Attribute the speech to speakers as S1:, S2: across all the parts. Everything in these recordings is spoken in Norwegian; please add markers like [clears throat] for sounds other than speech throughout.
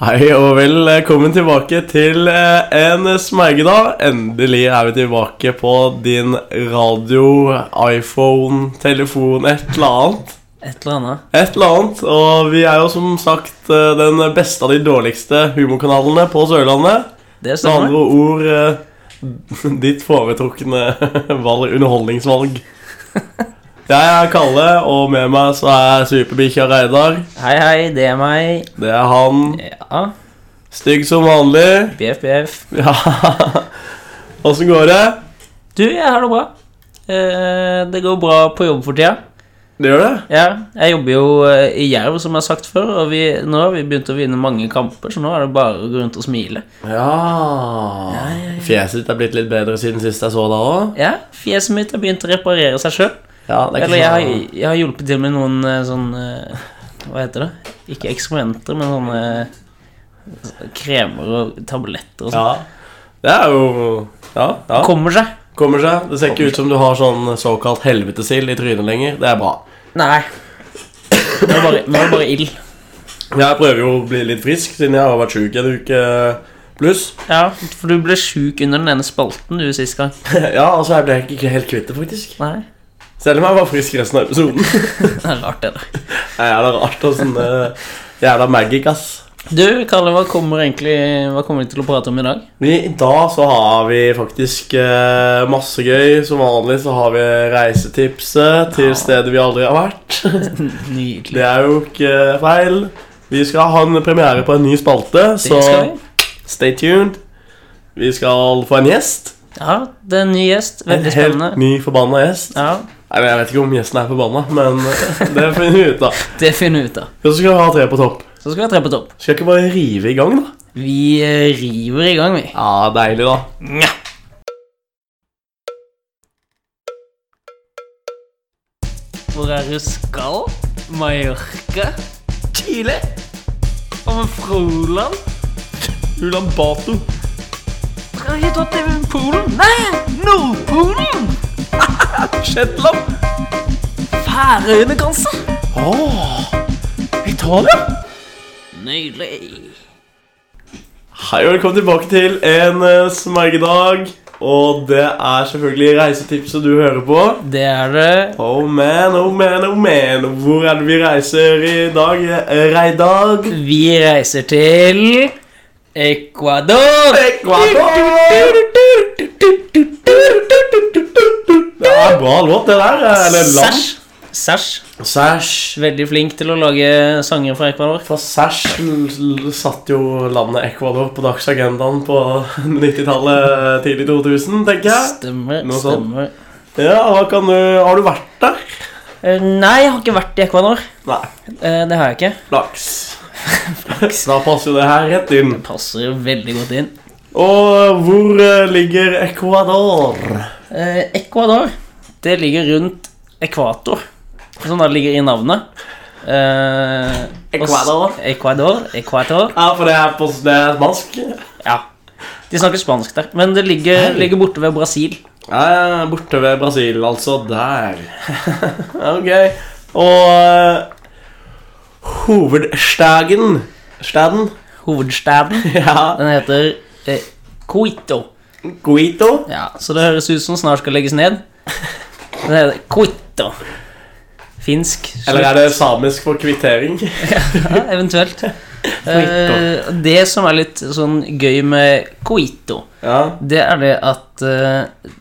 S1: Hei og velkommen tilbake til eh, en smeigedag. Endelig er vi tilbake på din radio, iPhone, telefon, et eller annet.
S2: Et eller annet.
S1: Et eller annet, Og vi er jo som sagt eh, den beste av de dårligste humorkanalene på Sørlandet.
S2: Det
S1: Med
S2: stemmer.
S1: andre ord eh, [laughs] ditt foretrukne [laughs] valg, underholdningsvalg. Jeg er Kalle, og med meg så er superbikkja Reidar.
S2: Hei, hei, det er meg.
S1: Det er han.
S2: Ja,
S1: Stygg som vanlig.
S2: BF, BF.
S1: Ja Åssen går det?
S2: Du, jeg har det bra. Eh, det går bra på jobb for tida.
S1: Det gjør det?
S2: Ja, jeg jobber jo eh, i Jerv, som jeg har sagt før, og vi, nå har vi begynt å vinne mange kamper, så nå er det bare å gå rundt og smile.
S1: Ja Fjeset ditt er blitt litt bedre siden sist jeg så deg òg?
S2: Ja, fjeset mitt har begynt å reparere seg sjøl.
S1: Ja, det er
S2: Eller
S1: ikke
S2: jeg har,
S1: sånn
S2: jeg har hjulpet til med noen eh, sånn eh, Hva heter det? Ikke eksperimenter, men sånne eh, kremer og tabletter og sånn.
S1: Ja. Det er jo Ja. ja.
S2: Kommer seg.
S1: Kommer seg. Det ser ikke ut som du har sånn såkalt helvetesild i trynet lenger. Det er bra.
S2: Nei. Nå er det bare, nå er det bare ild.
S1: Jeg prøver jo å bli litt frisk siden jeg har vært sjuk en uke pluss. [laughs]
S2: Ja, for du ble sjuk under den ene spalten du sist gang.
S1: Ja, altså jeg ble ikke helt kvitt det, faktisk.
S2: Nei,
S1: Selv om jeg var frisk resten av episoden. [laughs]
S2: det er rart det der.
S1: Det er jævla rart åssen uh, Jævla magic, ass.
S2: Du, Kalle, hva kommer, egentlig, hva kommer vi til å prate om i
S1: [laughs]
S2: dag?
S1: Vi, I dag så har vi faktisk eh, masse gøy. Som vanlig så har vi reisetipset til
S2: Ja.
S1: steder vi aldri har vært.
S2: [laughs]
S1: Det
S2: Nydelig.
S1: er jo ikke feil. Vi skal ha en premiere på en ny spalte,
S2: Det
S1: så
S2: skal vi.
S1: stay tuned. Vi skal få en gjest.
S2: Ja, det er en ny gjest. Veldig
S1: en helt
S2: spennende.
S1: ny forbanna gjest.
S2: Ja,
S1: Nei, men Jeg vet ikke om gjesten er forbanna, men eh, det finner vi ut av.
S2: det finner vi ut av.
S1: Og så skal vi ha tre på topp.
S2: Så skal vi ha tre på topp.
S1: Skal ikke bare rive i gang, da?
S2: Vi eh, river i gang, vi.
S1: Ja, deilig, da.
S2: Nja. Hvor er du skal? Mallorca?
S1: Chile.
S2: Og Froland?
S1: Ulan Bato.
S2: Skal vi ta til Polen? Nei, Nordpolen!
S1: Shetland.
S2: Færøyene, kanskje?
S1: Åh, Italia!
S2: Nydelig.
S1: Hei og velkommen tilbake til en eh, smergedag. Og det er selvfølgelig reisetipset du hører på.
S2: Det er det.
S1: Oh man, oh man, oh man. Hvor er det vi reiser i dag? Eh, Reidag?
S2: Vi reiser til Ecuador.
S1: Ecuador! Det er bra låt, det der. Eh, Eller land.
S2: Sash. Sash.
S1: Sæsj.
S2: Veldig flink til å lage sanger fra Ecuador.
S1: For Sæsj l- l- satte jo landet Ecuador på dagsagendaen på 90-tallet, tidlig 2000, tenker jeg.
S2: Stemmer.
S1: Noe sånt.
S2: stemmer.
S1: Ja, hva kan du, Har du vært der?
S2: Eh, Nei, jeg har ikke vært i Ecuador.
S1: Nei.
S2: Eh, Det har jeg ikke.
S1: Flaks. da passer jo det her rett inn.
S2: Det passer jo veldig godt inn.
S1: Og hvor eh, ligger Ecuador?
S2: Eh, Ecuador, det ligger rundt ekvator. Sånn det ligger i navnet. Eh, og s-
S1: Ecuador.
S2: Ecuador. Ecuador.
S1: Ja, for det er på det er spansk.
S2: Ja. De snakker spansk der. Men det ligger,
S1: Hei.
S2: ligger borte ved Brasil.
S1: Ja, borte ved Brasil, altså. Der. ok. Og eh, hovedstaden Staden?
S2: Hovedstaden.
S1: Ja.
S2: Den heter eh, Quito.
S1: Guito?
S2: Ja, så det høres ut som snart skal legges ned. Den heter Quito. Finsk.
S1: Eller er det samisk for kvittering?
S2: [laughs] Ja, eventuelt. Eh, det som er litt sånn gøy med Quito,
S1: Ja.
S2: Det er det at eh,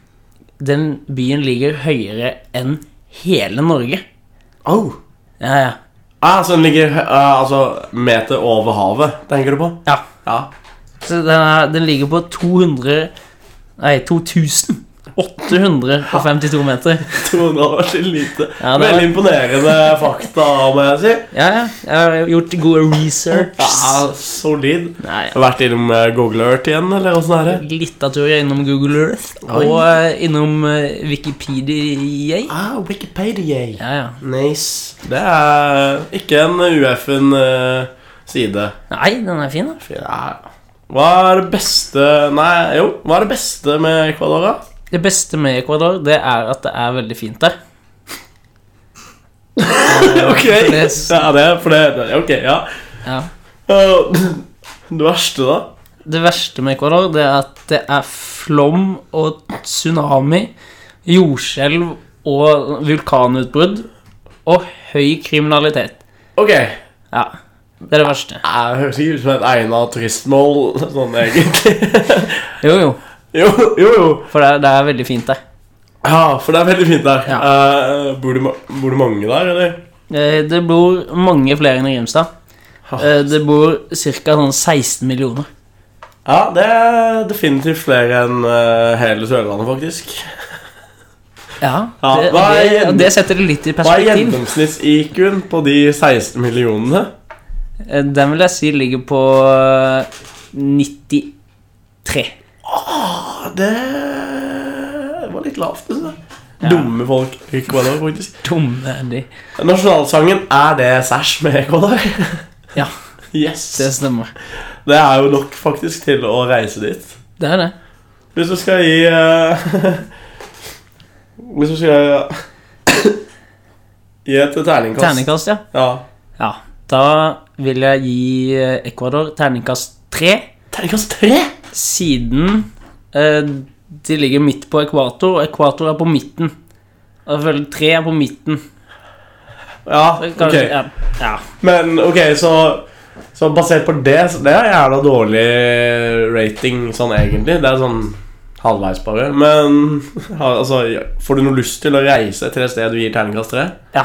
S2: den byen ligger høyere enn hele Norge.
S1: Oh.
S2: Ja, ja.
S1: Ah, så den ligger eh, altså, meter over havet, tenker du på?
S2: ja.
S1: Ja.
S2: Så den, er, den ligger på 200 Nei, 2000. 852 meter.
S1: 200 år siden lite.
S2: Ja, det var-
S1: Veldig imponerende fakta, må jeg si.
S2: Ja, ja. Jeg har gjort gode research.
S1: Ja,
S2: altså.
S1: solid.
S2: Nei, ja.
S1: Vært innom eh, Google Earth igjen, eller åssen er det?
S2: Litt av tur er innom Google Earth
S1: Oi.
S2: og eh, innom eh, Wikipedia.
S1: Ah, Wikipedia.
S2: Ja, ja.
S1: Nice. Det er ikke en UF-en eh, side.
S2: Nei, den er fin, da.
S1: Fy, nei. Hva er det beste Nei, jo, hva er det beste med Ecuador, da?
S2: Det beste med Ecuador, det er at det er veldig fint der.
S1: ok.
S2: det-
S1: [laughs] Ja, det, for det, det Ok, ja.
S2: Ja.
S1: Uh, [clears throat] Det verste, da?
S2: Det verste med Ecuador det er at det er flom og tsunami, jordskjelv og vulkanutbrudd og høy kriminalitet.
S1: Ok,
S2: Ja, det er det verste.
S1: jeg høres ikke ut som et egnet turistmål, [laughs] sånn egentlig.
S2: Jo, jo,
S1: Jo, jo, jo.
S2: for det er, det er veldig fint der.
S1: Ja, for det er veldig fint der.
S2: Ja.
S1: Eh, bor, det, ma- bor det mange der, eller?
S2: Eh, Det bor mange flere enn i Grimstad.
S1: Ah.
S2: Eh, Det bor ca. Sånn 16 millioner.
S1: Ja, det er definitivt flere enn eh, hele Sørlandet, faktisk.
S2: Ja,
S1: Ja,
S2: det,
S1: hva er
S2: det,
S1: gjennom-
S2: det setter det litt i
S1: Hva er
S2: perspektiv.
S1: gjennomsnitts-IQ-en på de 16 millionene?
S2: Eh, Den vil jeg si ligger på eh, 93.
S1: Ja, Det var litt lavt, synes jeg. Dumme folk i Ecuador, faktisk.
S2: Dumme er de.
S1: Nasjonalsangen er det sæsj med Ecuador.
S2: Ja.
S1: [laughs] Yes.
S2: Det stemmer.
S1: Det er jo nok faktisk til å reise dit.
S2: Det er det.
S1: Hvis du skal gi eh, [laughs] Hvis du skal gi et terningkast
S2: Terningkast, ja.
S1: Ja.
S2: ja. Da vil jeg gi eh, Ecuador terningkast tre,
S1: Terningkast tre?
S2: siden eh, de ligger midt på ekvator, og ekvator er på midten. Og jeg føler tre er på midten.
S1: Ja,
S2: Så
S1: ok.
S2: Kanskje, ja, ja.
S1: Men ok, så Så basert på det så Det er jævla dårlig rating Sånn egentlig Det er sånn halvveis bare Men [laughs] ha- altså Får du noe lyst til å reise til et sted du gir terningkast 3?
S2: ja.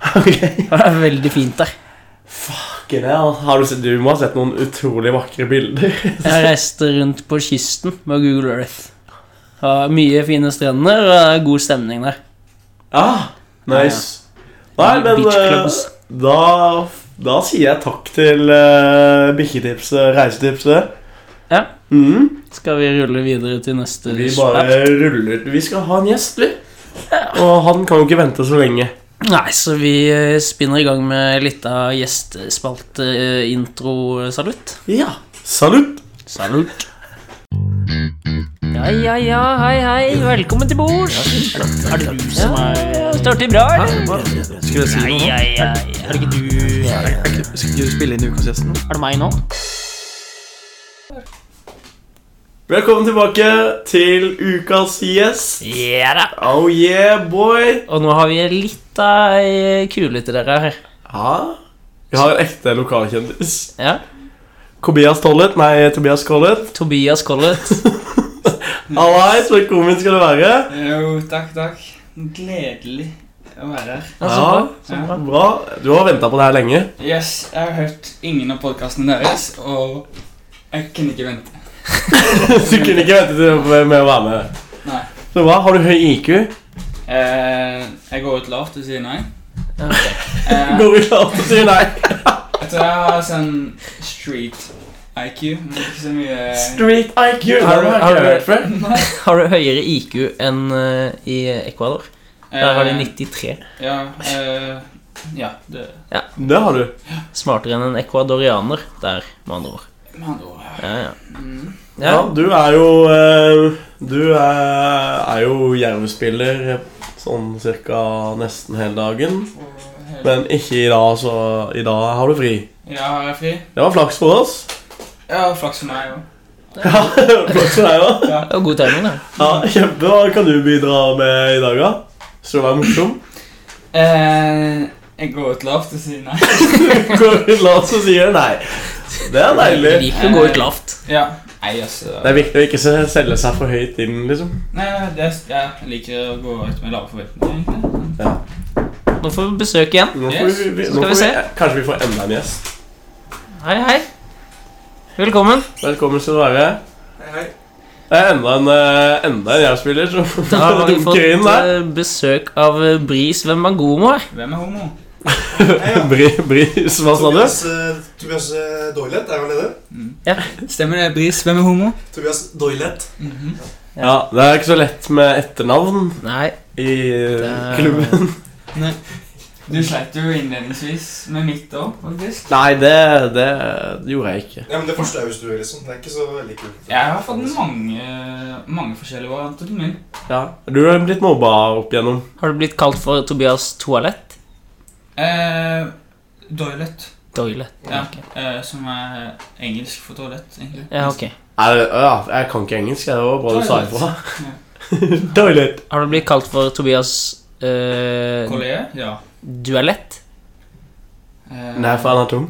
S1: [laughs]
S2: [laughs]
S1: Ok
S2: Det er veldig fint der.
S1: Ikke det, altså. Har du, sett, du må ha sett noen utrolig vakre bilder [laughs]
S2: Jeg reiste rundt på kysten med Google Earth. Har mye fine strender og det er god stemning der.
S1: Ja, Ah, nice Nei, men
S2: Beach
S1: eh,
S2: clubs.
S1: da, da sier jeg takk til uh, bikketipset, reisetipset
S2: Ja,
S1: Mhm
S2: Skal vi rulle videre til neste
S1: Vi
S2: spalte?
S1: bare ruller ut. Vi skal ha en gjest, vi. Og han kan jo ikke vente så lenge.
S2: Nei, så vi eh, spinner i gang med litt av gjestespalte-intro-salutt.
S1: Ja. Salutt.
S2: Salutt. Ja, ja, ja, hei, hei, velkommen til bords. Er det du som er ja, Står til bra, eller?
S3: Skulle jeg si noe?
S2: Ja, ja, ja. Er det ikke du Er
S3: Skal ikke du spille inn ukas-gjesten?
S2: det meg nå?
S1: Velkommen tilbake til ukas gjest.
S2: Ja da.
S1: Oh yeah, boy.
S2: Og nå har vi litt av ei kule til dere her.
S1: Ja. Vi har en ekte lokalkjendis.
S2: Ja.
S1: Kobias Tollet. Nei, Tobias Collet.
S2: Tobias Collett.
S1: Allais, velkommen skal du være.
S3: Jo, takk, takk. Gledelig å være her.
S2: Ja, så bra. Så
S3: Ja.
S2: bra.
S1: Bra. Du har venta på det her lenge. [laughs]
S3: Yes, jeg har hørt ingen av podkastene deres, og jeg kunne ikke vente.
S1: Du kunne ikke vente til med å være med.
S3: Nei.
S1: Så bra. Har du høy IQ?
S3: Eh, jeg går ut lavt og sier nei.
S2: Ja, ok. [laughs]
S3: Eh,
S1: Går ikke an å si nei.
S3: jeg tror jeg har sånn street IQ, men ikke så mye
S1: Street IQ.
S2: Eh. Har du-
S1: Det
S2: har du-
S1: før.
S3: Nei.
S2: Har du høyere IQ enn eh, i Ecuador? Der har de
S3: Eh,
S2: 93.
S3: Ja, eh, ja det
S1: Det har du.
S2: Smartere enn en ecuadorianer der, med andre ord.
S3: Med andre ord.
S2: Ja, ja.
S3: Mm.
S2: Ja.
S1: Ja, du er jo eh, Du er, er jo jervespiller sånn cirka nesten hele dagen.
S3: Og hele-
S1: Men ikke i dag, så i dag har du fri.
S3: Ja, har jeg fri?
S1: Det var flaks for oss. [laughs]
S3: Ja, flaks for meg òg.
S1: Ja, flaks for deg òg.
S2: Det var god timing, da.
S1: Ja, kjempe. Hva kan du bidra med i dag, da? Skal du være morsom?
S3: Eh, jeg går ut lavt og sier nei. [laughs]
S1: [laughs] Går du la oss og sier nei. Det er
S2: Jeg
S1: deilig.
S2: liker å gå ut lavt.
S3: Ja. Nei, altså
S1: Det er viktig å ikke se- selge seg for høyt inn, liksom.
S3: Nei, det, ja, jeg liker å gå ut med lave forventninger. egentlig.
S2: Nå får vi besøk igjen.
S1: Nå får vi, vi,
S2: Yes,
S1: nå
S2: skal vi
S1: får vi,
S2: se.
S1: kanskje vi får enda en gjest.
S2: Hei, hei. Velkommen.
S1: Velkommen skal du være.
S3: Hei, hei.
S1: Det er enda en, eh, enda en jeg-spiller som
S2: [laughs] Da
S1: [laughs]
S2: har vi fått
S1: dunker inn der.
S2: eh, besøk av eh, Bris Wembangomo her.
S3: Hvem er homo?
S2: eh,
S1: [laughs] Bri, bris, hva sa du?
S4: Tobias, eh, Tobias eh, Doilet, er vel det det?
S3: Mm. Stemmer det, Bris? Hvem er homo?
S4: Tobias Doilet.
S3: Mhm.
S1: Ja, Det er ikke så lett med etternavn
S2: Nei,
S1: i eh,
S2: Det-
S1: klubben. [laughs]
S2: [laughs]
S3: Du sleit jo innledningsvis med mitt òg, faktisk.
S1: Nei, det, det gjorde jeg ikke.
S4: Ja, men det første er jo Stue, liksom. Det er ikke så veldig kult.
S3: Jeg har fått mange, mange forskjellige varianter til min.
S1: Ja. Du er blitt mobba opp igjennom.
S2: har du blitt kalt for Tobias Toalett?
S3: Eh, Doilet.
S2: Doilet.
S3: Ja, eh, som er engelsk for toalett, egentlig.
S2: Ja, ok.
S1: Er det, ja, jeg kan ikke engelsk. Det var bra du sa ifra.
S3: Ja.
S1: [laughs] Toilet.
S2: Har du blitt kalt for Tobias eh,
S3: Kolleger? Ja.
S2: Duellett?
S3: Eh,
S1: Nei, for han er [laughs] tung.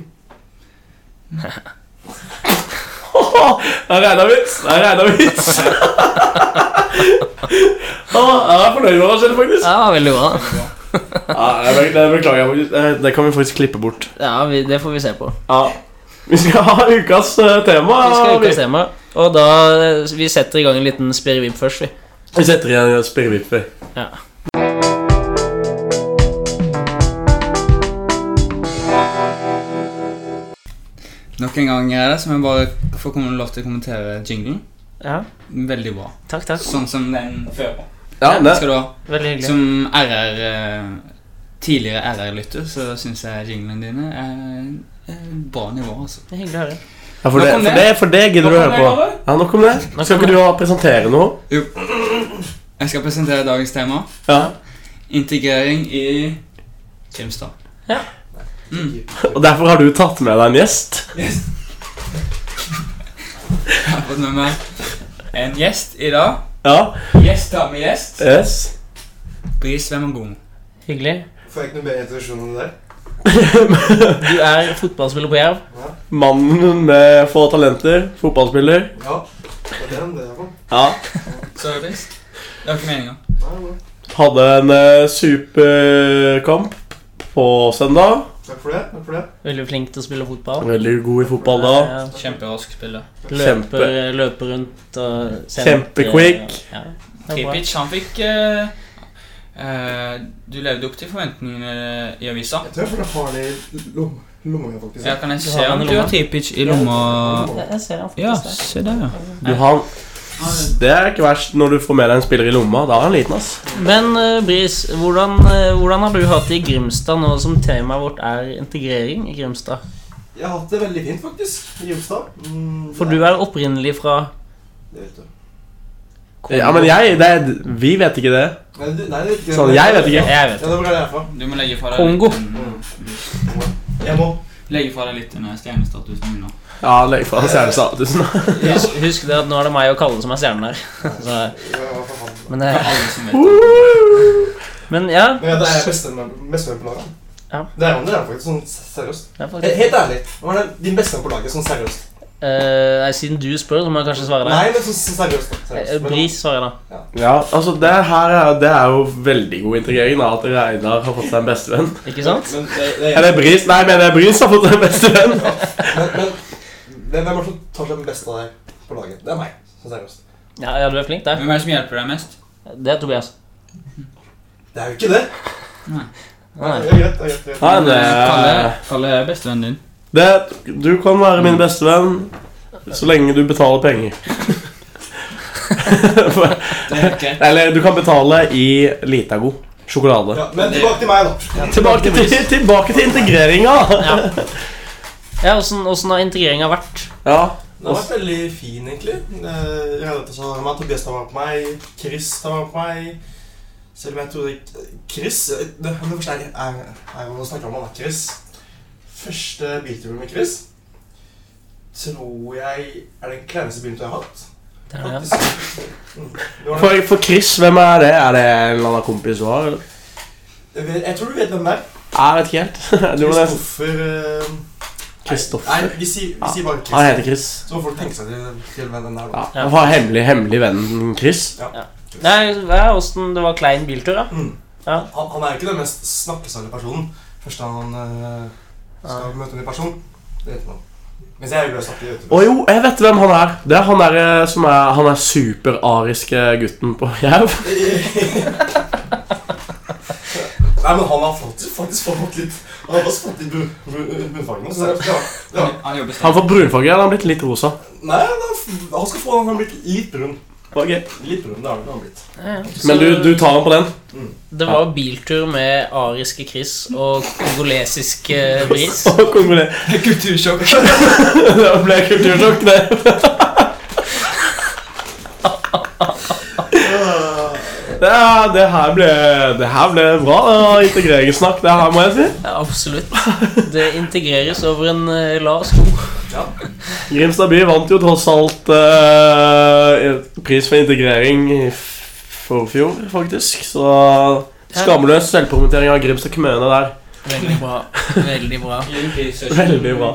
S1: Det er regna vits! Det er regna vits! [laughs] Å, Jeg er fornøyd med meg selv, faktisk.
S2: Ja, veldig bra.
S1: Ja, jeg bek- det beklager jeg faktisk. Det- Det kan vi faktisk klippe bort.
S2: Ja, vi, Det får vi se på.
S1: Ja. Vi skal ha ukas eh, tema.
S2: Vi skal ukas
S1: vi-
S2: tema. Og da eh, Vi setter i gang en liten spirrevibb først, vi.
S1: Vi setter igjen eh, spirrevipper.
S2: Ja.
S3: Nok en gang er det, som jeg bare får komme lov til å kommentere jinglen.
S2: ja.
S3: Veldig bra.
S2: Takk, takk.
S3: Sånn som den før.
S1: Ja,
S3: det
S1: det.
S3: skal du ha.
S2: Veldig hyggelig.
S3: Som RR eh, Tidligere RR-lytter, så syns jeg jinglene dine er eh, bra nivå, altså.
S2: Det er hyggelig å høre.
S1: Ja, for, det,
S3: Nok om
S1: for, det, for det gidder du å høre på. Ja, Nok om det.
S2: om
S1: Skal ikke
S2: det.
S1: du ha- presentere noe?
S3: Jeg skal presentere dagens tema.
S1: Ja.
S3: Integrering i Grimstad.
S2: Ja.
S3: Mm.
S1: Og derfor har du tatt med deg en gjest.
S3: Jeg har fått med meg en gjest i dag.
S1: Ja.
S3: Gjest har med gjest.
S1: Yes.
S3: Bris Vemagomo.
S2: Hyggelig.
S4: Får jeg ikke noe mer introduksjon enn det der?
S2: Du er fotballspiller på Jerv.
S1: Mannen med få talenter. Fotballspiller.
S4: Ja. Det er den, det er den.
S1: Ja.
S3: Sorry, Bris. Det var ikke meninga.
S4: Nei, nei.
S1: Hadde en eh, superkamp på søndag.
S4: Takk for det. Takk for det.
S2: Veldig flink til å spille fotball.
S1: Veldig god i fotball da.
S2: Ja,
S3: Kjemperask spiller.
S1: Kjempe.
S2: Løper, eh, løper rundt og eh,
S1: Kjempequick.
S2: Ja, det er bra.
S3: Tripic, han fikk eh, eh, Du levde opp til forventningene i avisa.
S4: Jeg tror jeg får ha den i lom- lomma mi, faktisk.
S3: Ja, kan jeg
S2: Du
S3: se
S2: har
S3: om
S2: han i
S3: du har
S2: lomma?
S3: Tripic i lomma
S2: Jeg- Jeg ser han faktisk
S3: Ja,
S2: der.
S3: se der, ja.
S1: Du har, det er ikke verst når du får med deg en spiller i lomma. Da er han liten, ass.
S2: Men eh, Bris, hvordan, eh, hvordan har du hatt det i Grimstad nå som temaet vårt er integrering i Grimstad?
S4: Jeg har hatt det veldig fint, faktisk. I Grimstad. Mm,
S2: For
S4: det
S2: du er opprinnelig fra
S4: Det vet du.
S2: Kongo.
S1: Ja, men jeg det er, Vi vet ikke det.
S4: Nei, du, nei, det vet ikke.
S1: Sånn, jeg vet ikke.
S2: Jeg vet
S4: Ja, det var det jeg er fra.
S3: Du må legge fra deg
S2: Kongo.
S3: litt, mm,
S4: Jeg må.
S3: Legge fra deg litt den der stjernestatusen
S1: [laughs]
S3: min nå.
S1: Ja, legg fra deg stjernestatusen.
S2: Husk, husk det at nå er det meg og Kalle som er stjernen her. [laughs] Så,
S4: Jeg var fra Halden.
S2: men, det,
S3: Alle som vet det.
S2: men ja,
S4: Men ja, det er bestevenn bestevenn på laget.
S2: Ja.
S4: Det er han, det er han faktisk. Sånn seriøst.
S2: det er
S4: He-
S2: faktisk
S4: Helt ærlig. Hva er det din bestevenn på laget? Sånn seriøst.
S2: Eh, Nei, Siden du spør, så må jeg kanskje svare deg.
S4: Nei, men sånn sånn seriøst. da.
S2: Eh,
S4: seriøst. Men-
S2: Bris svarer jeg da.
S1: Ja, altså, det her er, det er jo veldig god integrering. da At Reinar har fått seg en bestevenn.
S2: Ikke sant?
S4: Men, det- det er-
S1: Eller Bris. Nei, mener jeg Bris har fått seg en bestevenn.
S4: men, men hvem er det som tar seg best av deg på laget? Det er meg. Sånn seriøst.
S2: Ja, ja, du er flink der.
S3: Hvem er det som hjelper deg mest?
S2: Det er Tobias.
S4: Det er jo ikke det.
S2: Nei.
S4: Det er greit, det er greit, det er greit.
S1: Nei, det
S3: Kalle, Kalle er bestevennen
S1: [laughs]
S3: din.
S1: eh, det, Du kan være min bestevenn så lenge du betaler penger. [laughs]
S3: Det er helt greit.
S1: Eller du kan betale i Litago. Sjokolade.
S4: Ja, men tilbake til meg, da.
S1: Tilbake til, tilbake til integreringa!
S2: Ja. Ja, Åssen åssen har integreringa vært?
S1: Ja.
S4: Det har vært veldig fin, egentlig. Eh, Renate sa meg, Tobias tar vare på meg, Chris tar vare på meg. Selv om jeg trodde ikke- Chris eh, det, men først er, er, er, Hva snakker man om? da, Chris? Første bilturen med Chris tror jeg er den kleineste bilturen jeg har hatt.
S2: Det er det, ja.
S4: Faktisk. Mm. Det var den-
S1: For, for Chris, hvem er det? Er det en eller annen kompis du har? eller?
S4: Jeg vet- jeg tror du vet hvem det er.
S1: Jeg vet ikke helt. [laughs] Du må nesten
S4: Kristoffer eh, Nei,
S1: Kristoffer.
S4: vi sier, vi sier bare Chris.
S1: Ah, Han heter Chris.
S4: Så får folk tenke seg til, til hvem den er. da.
S1: Ja. Han har hemmelig, hemmelig vennen Chris.
S2: Nei, ja, åssen det var klein biltur, da.
S4: Mm.
S2: Ja.
S4: Han, han er jo ikke den mest snakkesalige personen. Først da han eh, skal møte en ny person. Det vet man. Mens jeg er jo glad i å snakke. vet du.
S1: Å jo, jeg vet hvem han er. Det er han der eh, som er Han er superariske gutten på Jerv.
S4: Nei, men han har faktisk, faktisk fått litt Han har faktisk fått litt bu- bu- bunnfargen hans. seriøst, Ja. Ja.
S3: Han han jobber
S1: Han
S3: sterkt.
S1: får brunfarge. eller Han har blitt litt rosa.
S4: Nei, han, har, f- han skal få han har blitt litt brun.
S1: Okay.
S4: Litt brun, det har han- han har blitt.
S2: Ja, ja.
S1: Men du,
S2: Så
S1: du tar han på den? [laughs]
S2: Det var biltur med ariske Chris og
S1: [laughs]
S2: kongolesisk eh, Bris.
S1: Å, kongole.
S3: [laughs]
S4: [laughs]
S3: Kultursjokk.
S1: Det ble kultursjokk, det.
S4: Øh,
S1: Det Det, er- det, her ble, det her ble bra det er integreringssnakk, det her, må jeg si.
S2: Ja,
S1: [laughs]
S2: absolutt. Det integreres over en eh, lav sko.
S4: Ja.
S1: Grimstad by vant jo tross alt eh, pris for integrering i f- forfjor, faktisk. Så skamløs selvpromotering av Grimstad kommune der.
S2: Veldig bra. Veldig bra.
S1: Veldig bra.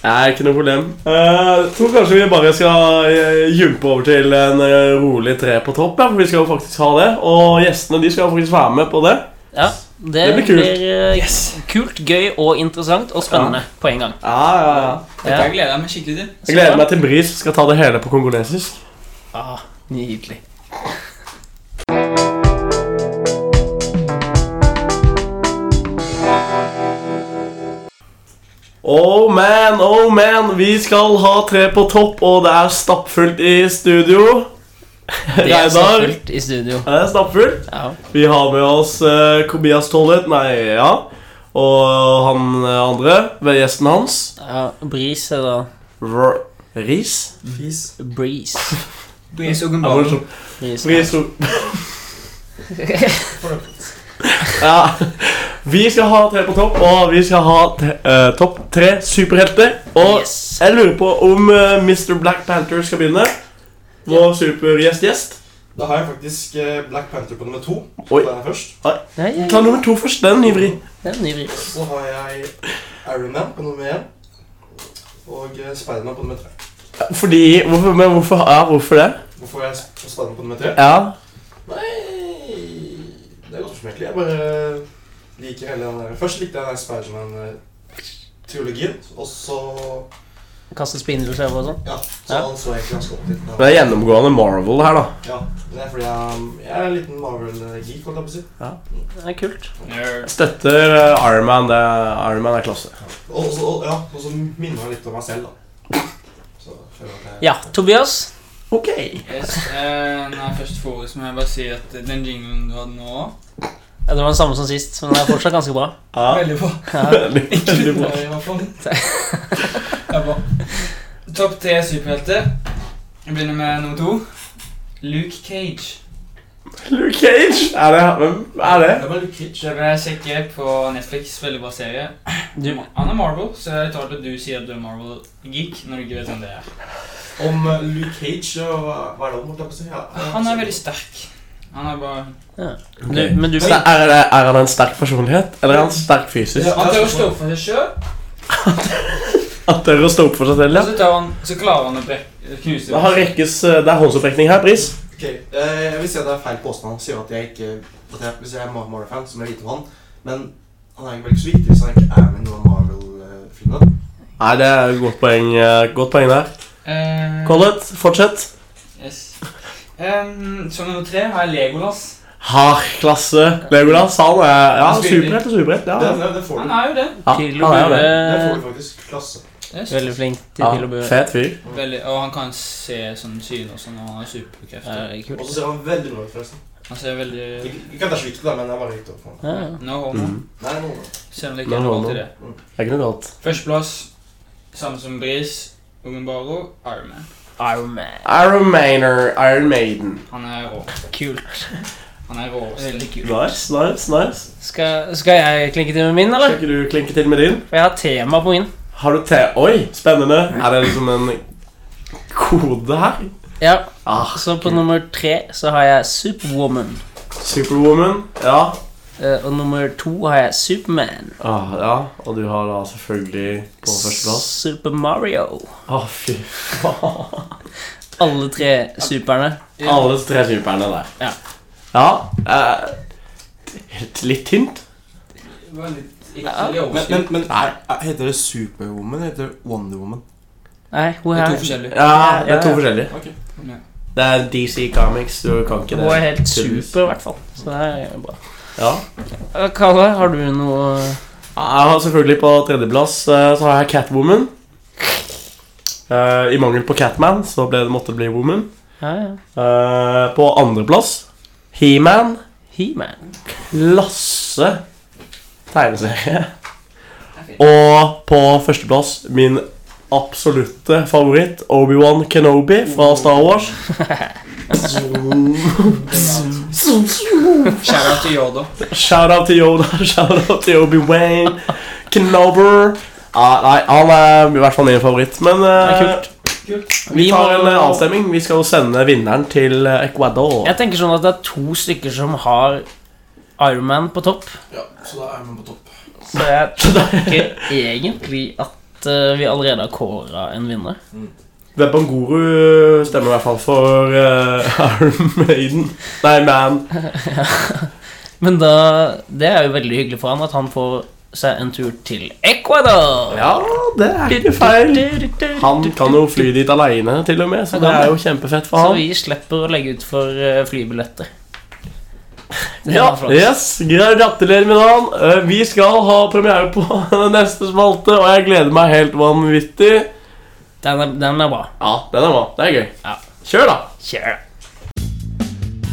S1: Nei, ikke noe problem. Eh, Jeg tror kanskje vi bare skal eh, jumpe over til en eh, rolig tre på topp. Ja, for vi skal jo faktisk ha det. Og gjestene de skal jo faktisk være med på det.
S2: Ja, det,
S1: Det blir kult.
S2: eh, kult, gøy og interessant og spennende på en gang.
S1: Ja, ja, ja.
S3: Dette gleder jeg meg skikkelig til.
S1: Jeg gleder meg til Bris skal ta det hele på kongolesisk.
S2: Ah,
S1: [laughs]
S2: nydelig.
S1: Oh man, oh man, vi skal ha tre på topp, og det er stappfullt i [laughs] studio.
S2: Det er så
S1: Reidar.
S2: fullt i studio.
S1: Ja, Det er stappfullt.
S2: Ja.
S1: Vi har med oss eh, Kobias Tollet, nei, ja. Og han eh, andre, ved gjesten hans,
S2: ja Bris er da
S1: R Riis.
S4: Fis.
S2: Breeze.
S3: Bris
S1: Ja,
S3: og Gumball.
S1: morsomt.
S2: Breeze.
S1: Riis
S2: [laughs]
S1: ro- ja. Vi skal ha tre på topp, og vi skal ha t eh, topp tre superhelter. Og
S2: Yes.
S1: jeg lurer på om eh, Mr. Black Panther skal begynne. Vår supergjest-gjest.
S4: Da har jeg faktisk eh, Black Panther på nummer to.
S1: Oi.
S4: Den er først.
S2: Nei, ja,
S1: Ta nummer to først. Den er ivrig.
S2: Det er en ny vri.
S4: Så har jeg Iron Man på nummer én. Og eh, Spiderman på nummer tre.
S1: Fordi Hvorfor, men hvorfor, ja, hvorfor det?
S4: Hvorfor er jeg sp- Spiderman på nummer tre?
S1: Ja.
S4: Nei Det er godt spørsmål, egentlig. Jeg bare liker hele den der Først likte jeg den der Spiderman-teologien. eh, Og så
S2: Kaste spindelskjever og sånn.
S4: Ja. Så
S2: Ja.
S4: han så egentlig ganske opp til
S1: Det er gjennomgående Marvel her, da.
S4: Ja, men det er fordi jeg, jeg er en liten Marvel-geek, holdt jeg på å si.
S2: Det er kult.
S3: Nerd.
S1: Jeg støtter eh, Iron Man. Det er, Iron Man er klasse.
S4: Og så og- ja, og så minner han litt om meg selv, da. Så føler jeg at jeg
S2: Ja, Tobias.
S1: Ok.
S3: Yes, eh, når jeg først får ordet, så må jeg bare si at den jinglen du hadde nå
S2: Ja, det var den samme som sist, men den er fortsatt ganske bra.
S1: Ja.
S3: Veldig bra.
S2: Ja.
S1: [laughs] Veldig bra.
S3: i hvert fall. Det er bra. Topp tre superhelter. Vi begynner med nummer to. Luke Cage.
S1: Luke Cage! Er det Hvem er det?
S4: Det var litt kitsch.
S3: Det vil jeg sjekke på Netflix. Veldig bra serie.
S2: Du,
S3: Han er Marvel, så jeg tar det at du sier at du er Marvel-geek når du ikke vet hvem det er.
S4: Om eh, Luke Cage og hva- hva er det om, holdt jeg på å si? Ja,
S3: Han er veldig sterk. Han er bare
S2: du, men du
S1: Så er, det, er han en sterk personlighet, eller er han sterk fysisk?
S4: Ja.
S3: Han tør å stå for seg sjøl,
S1: At tør å stå opp for seg selv,
S3: og
S1: ja.
S3: så, tar han, så klarer han å brekke, knuse
S1: Det, har rekkes, eh, det er håndsopprekning her, Pris.
S4: Ok, eh, Jeg vil si at det er feil påstand. Han sier at jeg ikke at jeg, Hvis jeg er Marvel-fan, så må jeg vite om han. Men han er jo ikke så viktig hvis han ikke er med i noen av Marvel-filmene.
S1: Nei, det er et godt poeng, eh, godt poeng der.
S3: Eh,
S1: Collett, fortsett.
S3: Yes. Ehm, som nummer tre har jeg Legolas.
S1: Har klasse. Legolas, han er ja,
S3: Han spiller.
S1: superhelt og superhelt. Ja,
S4: Det,
S1: ja.
S4: det, det får
S3: Han
S4: du.
S3: er jo det.
S2: Til
S1: Ja,
S2: og
S1: han er det.
S4: Det får
S2: bue.
S4: du faktisk. Klasse.
S3: Yes.
S2: Veldig flink til
S1: Ja,
S2: til og bue.
S1: fet fyr.
S3: Veldig, og han kan se sånn syn og sånn, og han har
S2: Ja,
S3: superkrefter.
S2: det er
S4: Og så
S2: kult.
S4: ser han veldig bra ut, forresten.
S3: Han ser veldig
S4: Ikke ikke at det er så viktig, da, men jeg bare gikk opp for han.
S2: Ja, ja.
S3: No homo.
S1: Mm.
S4: Nei, noen ganger.
S3: Selv om det ikke
S1: No
S3: er noe
S1: homo.
S3: til det.
S1: Det er ikke noe galt.
S3: Førsteplass, samme som Bris, Ungenbaro, Iron Man.
S2: Iron Man.
S1: Iron Mainer, Iron Maiden.
S3: Han er rå.
S2: Kult.
S3: Han er rå.
S2: Veldig kult.
S1: Nice, nice, nice.
S2: Skal, skal jeg klinke til med min,
S1: Skal
S2: eller?
S1: ikke du klinke til med din?
S2: For jeg har tema på min.
S1: Har du te... Oi, spennende. Er det liksom en kode her?
S2: Ja,
S1: Ah,
S2: Så på nummer tre så har jeg Superwoman.
S1: Superwoman. Ja.
S2: Eh, Og nummer to har jeg Superman.
S1: Ah, ja. Og du har da selvfølgelig på førsteplass.
S2: Super Mario.
S1: Å, fy faen.
S2: Alle tre superne.
S1: Alle tre superne der.
S2: Ja.
S1: Ja, eh, et litt hint.
S3: Det var litt ikke
S2: Ja.
S3: veldig
S4: Men,
S3: overskudd.
S4: men, men er, er, heter det Superwoman? Heter det Wonder Woman?
S2: Nei, hun
S3: Det er to
S2: er,
S3: forskjellige.
S1: Ja, det
S2: Ja,
S1: er to
S2: ja.
S1: forskjellige.
S4: Ok.
S1: Det er DC Comics, du kan ikke
S2: hun
S1: det.
S2: er helt
S1: tydeligvis.
S2: super, i hvert fall. Så det er bra.
S1: Ja.
S2: Eh, Kalle, har du noe
S1: Jeg har selvfølgelig på tredjeplass eh, så har jeg Catwoman. Eh, I mangel på Catman så ble det måtte det bli Woman.
S2: Ja, ja.
S1: Eh, på andreplass He-Man.
S2: He-Man.
S1: Lasse tegneserie.
S3: Det er fint.
S1: Og på førsteplass min absolutte favoritt, Obi-Wan Kenobi fra Star Wars.
S3: Shout out til Yoda.
S1: Shout-out til Yoda, [laughs] shout-out til Obi-Wan, Knober ah, Nei, han er i hvert fall min favoritt, men
S2: Det er
S1: eh,
S3: Kult.
S1: vi
S2: Vi
S1: tar
S2: må-
S1: en eh, avstemning. Vi skal jo sende vinneren til eh, Ecuador.
S2: Jeg tenker sånn at det er to stykker som har Iron Man på topp.
S4: Ja, så da er man på topp.
S2: Så jeg tenker egentlig at eh, vi allerede har kåra en vinner.
S1: Webanguru stemmer i hvert fall for eh, [laughs] Iron Maiden. Nei, Man.
S2: Men da, det er jo veldig hyggelig for han at han får seg en tur til Ecuador.
S1: Ja, det er ikke feil. Han kan jo fly dit aleine, til og med, så det er jo kjempefett
S2: Så
S1: for han.
S2: vi slipper å legge ut for eh, flybilletter. Det
S1: Ja,
S2: var flott.
S1: yes, Gratulerer med dagen. Eh, Vi skal ha premiere på [laughs] neste spalte, og jeg gleder meg helt vanvittig.
S2: Den er, den er bra.
S1: Ja, den er bra. Det er gøy.
S2: Ja.
S1: Kjør, da.
S2: Kjør.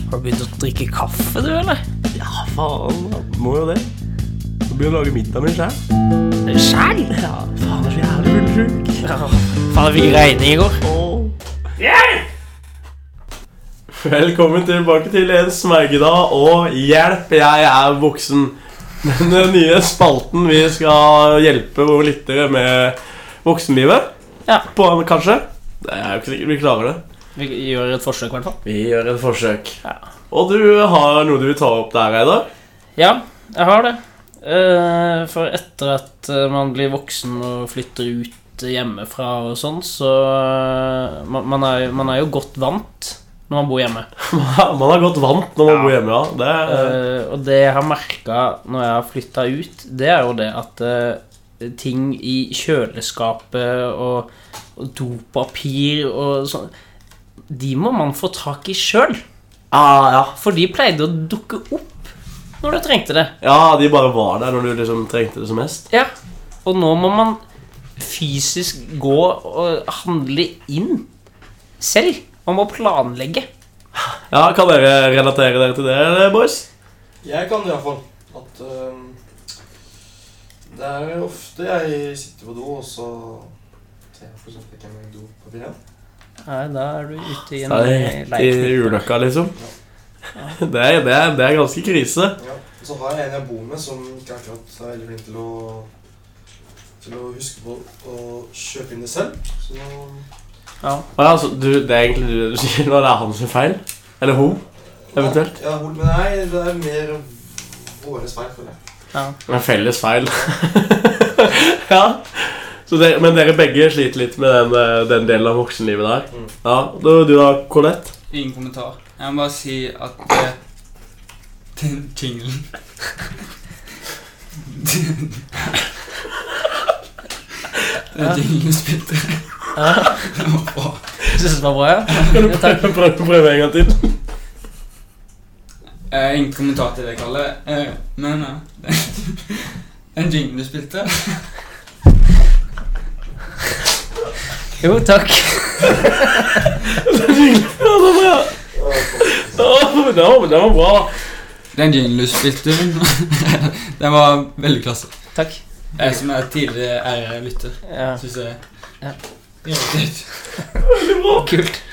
S2: Har du begynt å drikke kaffe, du, eller?
S1: Ja, faen. da. Må jo det. Så begynner jeg å lage middag min sjæl.
S2: Sjæl? Ja.
S1: Faen, jeg er så jævlig fullsjuk.
S2: Faen, jeg fikk regning i går.
S1: Velkommen tilbake til en smergedag, og hjelp, jeg er voksen. Den nye spalten vi skal hjelpe våre lyttere med voksenlivet.
S2: Ja.
S1: På, kanskje. Det er jo ikke sikkert vi klarer det.
S2: Vi gjør et forsøk, i hvert fall.
S1: Vi gjør et forsøk.
S2: Ja.
S1: Og du har noe du vil ta opp der, Reidar? [laughs]
S2: Ja, jeg har det. Eh, For etter at eh, man blir voksen og flytter ut hjemmefra og sånn, så eh, man man er, man er jo godt vant når man bor hjemme.
S1: Man har gått vant når man bor hjemme, ja. Det er,
S2: Eh, og det jeg har merka når jeg har flytta ut, det er jo det at eh, ting i kjøleskapet og, og dopapir og sånn De må man få tak i sjøl,
S1: ah, ja.
S2: for de pleide å dukke opp når du trengte det.
S1: ja, de bare var der når du liksom trengte det som mest.
S2: Ja. Og nå må man fysisk gå og handle inn selv. Man må planlegge.
S1: Ja, Kan dere relatere dere til det, eller, boys?
S4: Jeg kan det iallfall. At øhm, Det er ofte jeg sitter på do, og så ser jeg for eksempel ikke en dopapir igjen.
S2: Nei, da er du ute i en
S1: Ja, det er rett i
S2: leirknipe.
S1: ulykka, liksom. [laughs] Det er, det, er, det er ganske krise.
S4: Ja. Og så har jeg en jeg bor med, som ikke akkurat er veldig flink til å til å huske på å kjøpe inn det selv. Så nå
S2: Ja.
S1: Og ja, altså, du, det er egentlig det du sier nå, det er han sin feil. Eller hun, eventuelt.
S4: Ja, hol- men nei, det er mer våres feil, føler jeg.
S2: Ja.
S1: En felles feil. [laughs] ja. Så dere- men dere begge sliter litt med den, eh, den delen av voksenlivet der.
S4: Mm.
S1: Ja, Du, du da, Colette?
S3: Ingen kommentar. Jeg må bare si at eh, Den jinglen [laughs] Den jinglen spilte Den var bra.
S2: Syns du det var bra? ja?
S1: Kan du
S2: Ja,
S1: [laughs]
S2: takk.
S1: prøve, prøve, prøve en gang til?
S3: [laughs] Eh, Ingen kommentar til det, Kalle. Eh, Men [laughs] eh, den- den jinglen du spilte
S2: Jo, takk.
S1: Ja, det var, ja. Å, det var, det var bra.
S3: Den jinglen du spilte, [laughs] den var veldig klasse.
S2: Takk.
S3: Jeg som er tidligere ære-lytter,
S2: Ja,
S3: syns jeg
S2: Ja.
S3: Irritert.
S2: kult.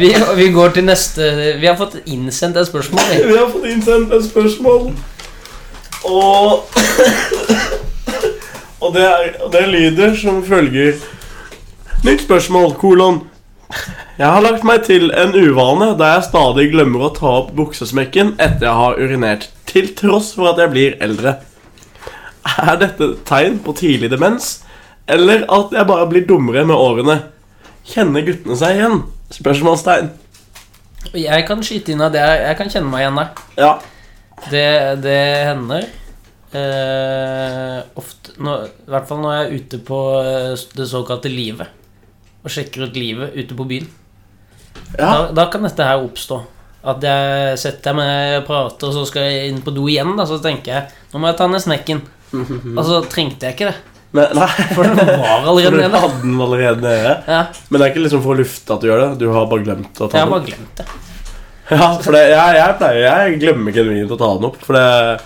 S2: Vi, vi går til neste Vi har fått innsendt et spørsmål. vi.
S1: Vi har fått innsendt et spørsmål. Og Og det, er, og det lyder som følger Nytt spørsmål, kolon. Jeg har lagt meg til en uvane der jeg stadig glemmer å ta opp buksesmekken etter jeg har urinert, til tross for at jeg blir eldre. Er dette tegn på tidlig demens, eller at jeg bare blir dummere med årene? Kjenner guttene seg igjen? Spørsmålstegn.
S2: Og Jeg kan skyte inn at jeg, jeg kan kjenne meg igjen der.
S1: Ja.
S2: Det, det hender. Eh, ofte når, I hvert fall når jeg er ute på eh, det såkalte livet. Og sjekker ut livet ute på byen.
S1: ja.
S2: Da, da kan dette her oppstå. At jeg setter meg og prater, og så skal jeg inn på do igjen. Da, så tenker jeg nå må jeg ta ned
S1: [laughs]
S2: snekken. Og så trengte jeg ikke det.
S1: Men, nei.
S2: For den var
S1: For
S2: allerede
S1: du
S2: nede.
S1: hadde den allerede nede.
S2: Ja,
S1: Men det er ikke liksom for å lufte at du gjør det. Du har bare glemt å
S2: jeg
S1: ta
S2: har
S1: den opp.
S2: bare glemt det.
S1: Ja, for det, jeg, jeg pleier Jeg glemmer genuint å ta den opp. For det,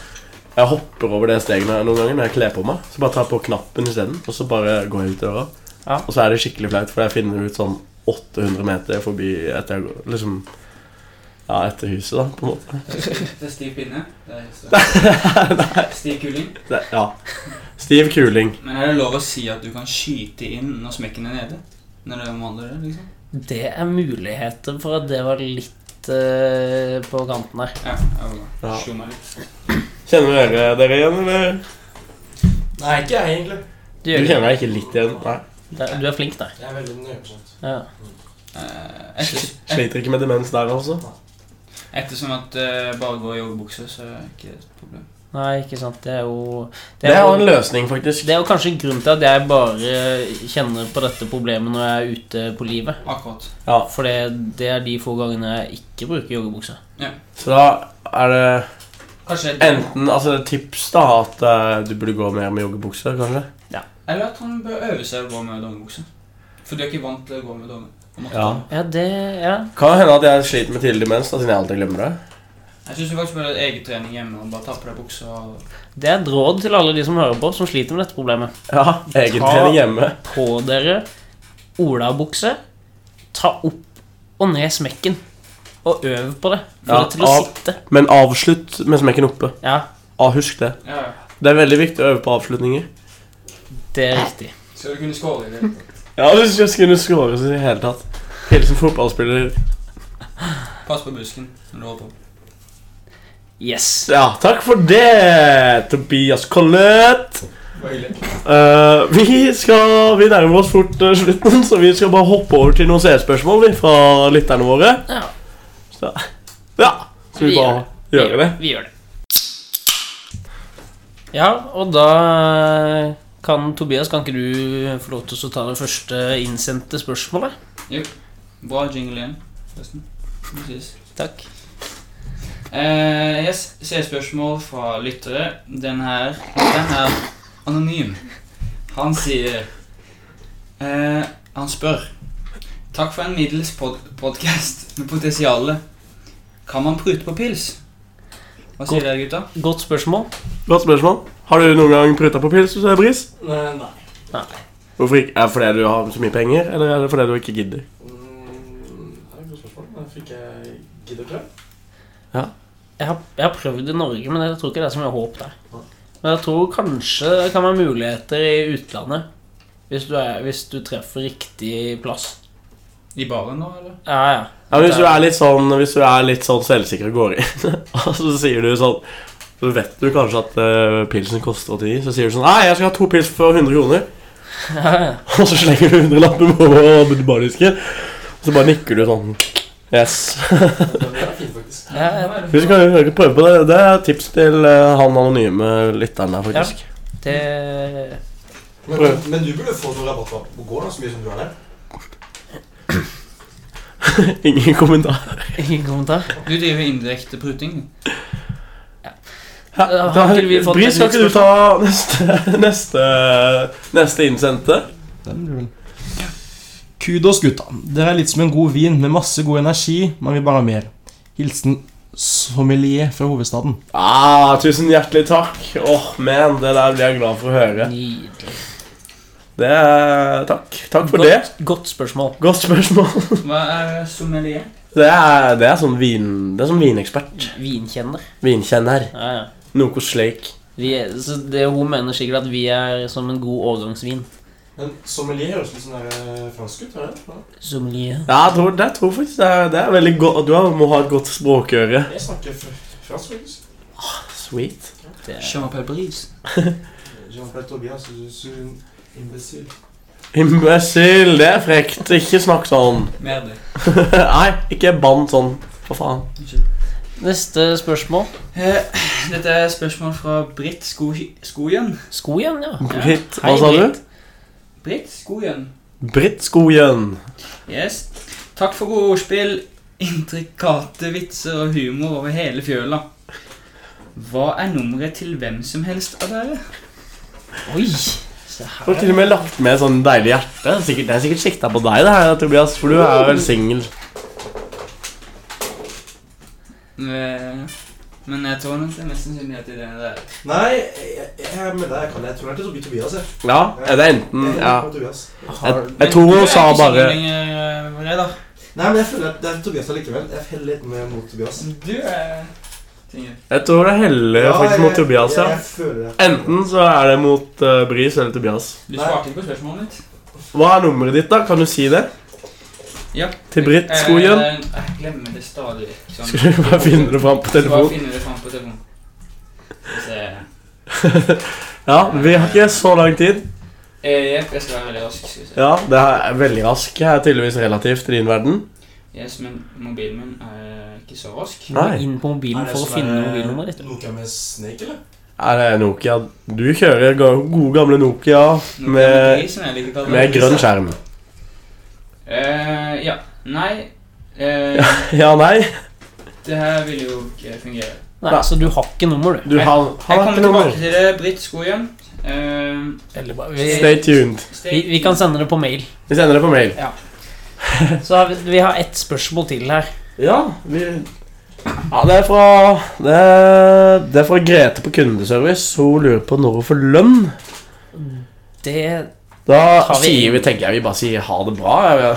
S1: jeg hopper over det steget når- noen ganger når jeg kler på meg. Så bare tar jeg på knappen isteden, og så bare går jeg ut døra.
S2: Ja.
S1: Og så er det skikkelig flaut, for jeg finner ut sånn 800 meter forbi etter jeg går Liksom Ja, etter huset, da, på en måte. [laughs]
S3: Det er stiv pinne. Det er så-
S1: Nei,
S3: Stiv kuling.
S1: det- ja. Stiv kuling.
S3: Men er det lov å si at du kan skyte inn når smekken er nede? Når det omhandler det, liksom?
S2: Det er muligheter for at det var litt eh, på kanten her.
S3: Ja, jeg
S1: Ja.
S3: bare slo meg litt.
S1: Kjenner dere dere igjen, eller?
S4: Nei, ikke jeg, egentlig.
S2: Du,
S1: Du
S2: gjør
S1: kjenner deg ikke litt igjen? Nei.
S2: det. du er flink der.
S4: Jeg er veldig nøye på sånt.
S2: Ja.
S3: Eh, etter-
S1: Sliter ikke med demens der, altså?
S3: Ettersom at eh, bare gå i joggebukse, så er ikke det et problem.
S2: Nei, ikke sant. Det er jo
S1: Det
S2: er
S1: er jo
S2: jo-
S1: en løsning, faktisk.
S2: Det er jo kanskje en grunn til at jeg bare kjenner på dette problemet når jeg er ute på livet.
S3: Akkurat.
S2: For det, det er de få gangene jeg ikke bruker joggebukse.
S1: Så da er det
S3: Kanskje det-
S1: enten altså, tips, da, at eh, du burde gå mer med joggebukse, kanskje?
S3: Eller at han bør øve seg å gå med dongeribukse. For du er ikke vant til å gå med donger. på en måte.
S1: Ja.
S2: Ja, det Ja.
S1: Kan hende at jeg sliter med tidlig demens, da, siden jeg alltid glemmer det.
S3: Jeg syns du faktisk bør ha egen trening hjemme og bare ta på deg buksa. og-
S2: Det er et råd til alle de som hører på, som sliter med dette problemet.
S1: Ja, Egentrening hjemme.
S2: På dere olabukse. Ta opp og ned smekken. Og øv på det. Få
S1: Ja,
S2: det til å
S1: av-
S2: sitte.
S1: Men avslutt med smekken oppe.
S2: Ja,
S1: Ah, husk det.
S3: Ja, ja.
S1: Det er veldig viktig å øve på avslutninger.
S2: det er riktig.
S3: Skal du kunne skåre i det?
S1: Ja, hvis jeg skulle score så i det hele tatt. Hilsen fotballspiller.
S3: Pass på busken når du holder på.
S2: Yes.
S1: Ja, takk for det, Tobias Collett.
S3: Det var hyggelig.
S1: Eh, vi skal, vi nærmer oss fort eh, slutten, så vi skal bare hoppe over til noen seerspørsmål vi, fra lytterne våre.
S2: Ja,
S1: Ja, så vi bare
S2: vi,
S1: gjør det.
S2: Vi gjør det. Ja, og da kan Tobias, kan ikke du få lov til å ta det første innsendte spørsmålet?
S3: Bra jingle igjen, forresten. Precis.
S2: Takk.
S3: Eh, jeg s- ser spørsmål fra lyttere. Den her Den er anonym. Han sier eh, Han spør Takk for en middels pod podkast med potensial. Kan man prute på pils? Hva sier dere, gutta?
S2: Godt spørsmål.
S1: Godt spørsmål. Har du noen gang pruta på pils, hvis det er bris?
S4: Nei. nei.
S1: Hvorfor ikke? Er det fordi du har så mye penger, eller er det fordi du ikke gidder?
S4: Mm, det er et godt spørsmål. Da fikk jeg gidder klem.
S2: Jeg har, jeg har prøvd i Norge, men jeg tror ikke det er så mye håp der. Men jeg tror kanskje det kan være muligheter i utlandet. Hvis du, er, hvis du treffer riktig plass.
S3: I baren nå, eller?
S2: Ja, ja.
S1: Ja, men hvis du er litt sånn, hvis du er litt sånn selvsikker og går inn, [laughs] og så sier du sånn Så vet du kanskje at eh, pilsen koster 89, så sier du sånn Nei, jeg skal ha to pils for 100 kroner. [laughs]
S2: ja, ja.
S1: Og så slenger du 100-lappen på bardisken, og så bare nikker du sånn. Yes.
S4: Det er fint, faktisk.
S2: ja, ja.
S1: Hvis du kan jo ikke prøve på det. Det er et tips til eh, han anonyme lytteren der, faktisk.
S2: Det
S4: Men,
S1: Prøv.
S4: men du burde få noe rabatt på på gården så mye som du er der.
S1: Ingen kommentar.
S2: Ingen kommentar.
S3: Du driver indirekte pruting.
S1: Ja,
S2: Ja, Eh, har
S1: da,
S2: ikke vi fått
S1: Bris,
S2: et
S1: skal
S2: nytt
S1: ikke du ta neste, [laughs] neste, neste innsendte?
S4: Kudos, gutta. Dere er litt som en god vin med masse god energi. Man vil bare ha mer. Hilsen sommelier fra hovedstaden.
S1: Ah, tusen hjertelig takk. Åh, man, Det der blir jeg glad for å høre.
S2: Nydelig.
S1: Det er, Takk Takk for det.
S2: Godt, godt spørsmål.
S1: Godt spørsmål. [laughs]
S3: Hva er sommelier?
S1: Det er, det er sånn vin, det er sånn vinekspert.
S2: Vinkjenner.
S1: Vinkjenner.
S2: Ja, ja.
S1: Noe slik.
S2: Vi er, så det, hun mener sikkert at vi er som en god årgangsvin.
S4: Men sommelier høres litt sånn der, eh, fransk ut. hører jeg.
S2: Sommelier.
S1: Ja, jeg tror, det tror jeg faktisk det er, det er veldig godt. Du har- må ha et godt språkøre.
S4: Jeg snakker fr- fransk, faktisk.
S1: Sweet.
S2: Det er
S3: Champagne Paris.
S4: Jean-Claude Tobias, du er en imbecil.
S1: Imbecil, det er frekt. Ikke snakk sånn. [laughs]
S3: Mer det.
S1: Nei, ikke bann sånn. For faen.
S3: Unnskyld.
S2: Neste spørsmål.
S3: Eh, Dette er spørsmål fra Britt Sko Skogen.
S2: Sko igjen, ja.
S1: Britt,
S2: Hei,
S1: hva sa du?
S3: Britt Skogen.
S1: Britt Skogen.
S3: Yes. Takk for gode ordspill, intrikate vitser og humor over hele fjøla. Hva er nummeret til hvem som helst av dere?
S2: Oi!
S1: Du
S2: Se
S1: har
S2: her.
S1: til og med lagt med sånn deilig hjerte. Det er sikkert, det er sikkert sikta på deg, det her, Tobias, for du er vel singel.
S3: Eh, Men jeg tror nok det er mest sannsynlig at det er det der.
S4: Nei, jeg, jeg er med deg. Jeg kan det. Jeg tror det er til Tobi- Tobias. Jeg.
S1: Ja, er det enten
S4: Jeg
S1: ja.
S4: tror det er Tobias.
S1: Jeg, jeg tror hun sa
S3: Du er ikke
S1: bare
S3: singel lenger, eh, Reidar.
S4: Nei, men jeg føler at det er Tobias allikevel. Jeg heller litt mer mot Tobias.
S3: Du er tingen.
S1: Jeg tror det heller faktisk mot Tobias,
S4: ja.
S1: ja.
S4: Jeg, jeg føler det.
S1: Enten så er det mot eh, Bris eller Tobias.
S3: Du
S4: Nei.
S3: svarte ikke på spørsmålet mitt.
S1: Hva er nummeret ditt, da? Kan du si det?
S3: Ja.
S1: Til Britt Skogen?
S3: Eh, Jeg glemmer det stadig. Sånn.
S1: Skal du bare finne det fram på
S3: Skal bare
S1: telefonen?
S3: finne det fram på telefonen. Skal vi se.
S1: Ja, vi har ikke så lang tid.
S3: Eh, Jepp, jeg skal være veldig rask. Skal vi se.
S1: Ja, det er veldig rask. Jeg er tydeligvis relativt i din verden.
S3: Yes, men mobilen min er ikke så rask.
S2: Du må
S1: Nei.
S2: inn på mobilen for å finne mobilnummeret ditt.
S4: Noe med Snake, eller?
S1: Er det Nokia? Du kjører ga- gode gamle Nokia
S3: Nokia
S1: med,
S3: Mobil, som jeg liker å kalle det.
S1: med grønn skjerm.
S3: Eh, ja. Nei. Eh,
S1: Ja, nei?
S3: Det her vil jo ikke fungere.
S2: Nei, så du har ikke nummer,
S1: Du
S2: du.
S1: har,
S3: Jeg
S1: har
S3: kommer
S1: ikke nummer.
S3: tilbake til det. Britt Skogen. Eh,
S2: Eller bare, vi,
S1: Stay tuned.
S2: vi,
S3: stay-
S2: vi kan sende det på mail.
S1: Vi sender det på mail.
S2: Så har vi, vi har ett spørsmål til her.
S1: Ja, vi Ja, det er fra Det er, det er fra Grete på kundeservice. Hun lurer på når hun får lønn.
S2: Det
S1: Da
S2: Tar vi-
S1: sier vi, tenker jeg vi bare sier ha det bra. jeg.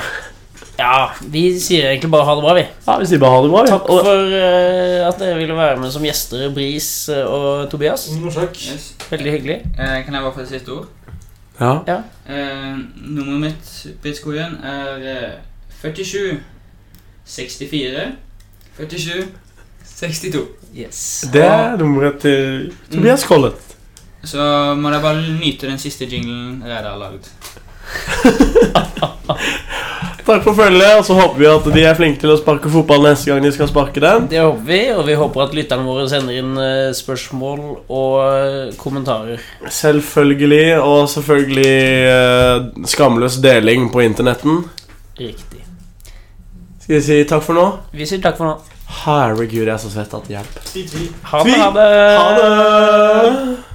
S2: Ja, vi sier egentlig bare ha det bra, vi.
S1: Ja, vi sier bare ha det bra. vi.
S2: Takk
S1: Og-
S2: for eh, at dere ville være med som gjester, Bris eh, og Tobias.
S4: Ingen årsak.
S3: Yes.
S2: Veldig hyggelig.
S3: Eh, kan jeg bare få et siste ord?
S1: Ja.
S3: Eh, nummeret mitt, Britt Skogen, er eh, 47 64 47 62.
S2: Yes.
S1: Det er nummeret til Tobias Collett.
S3: Så må dere bare nyte den siste jinglen Reidar har lagd.
S1: Takk for følget, og så håper vi at de er flinke til å sparke fotball neste gang de skal sparke den.
S2: Det håper vi, og vi håper at lytterne våre sender inn eh, spørsmål og eh, kommentarer.
S1: Selvfølgelig, og selvfølgelig eh, skamløs deling på internetten.
S2: Riktig.
S1: Skal vi si takk for nå?
S2: Vi sier takk for nå.
S1: Herregud, jeg er så svett at det hjelper.
S4: Tvi, tvi.
S2: Ha det.
S1: Ha det!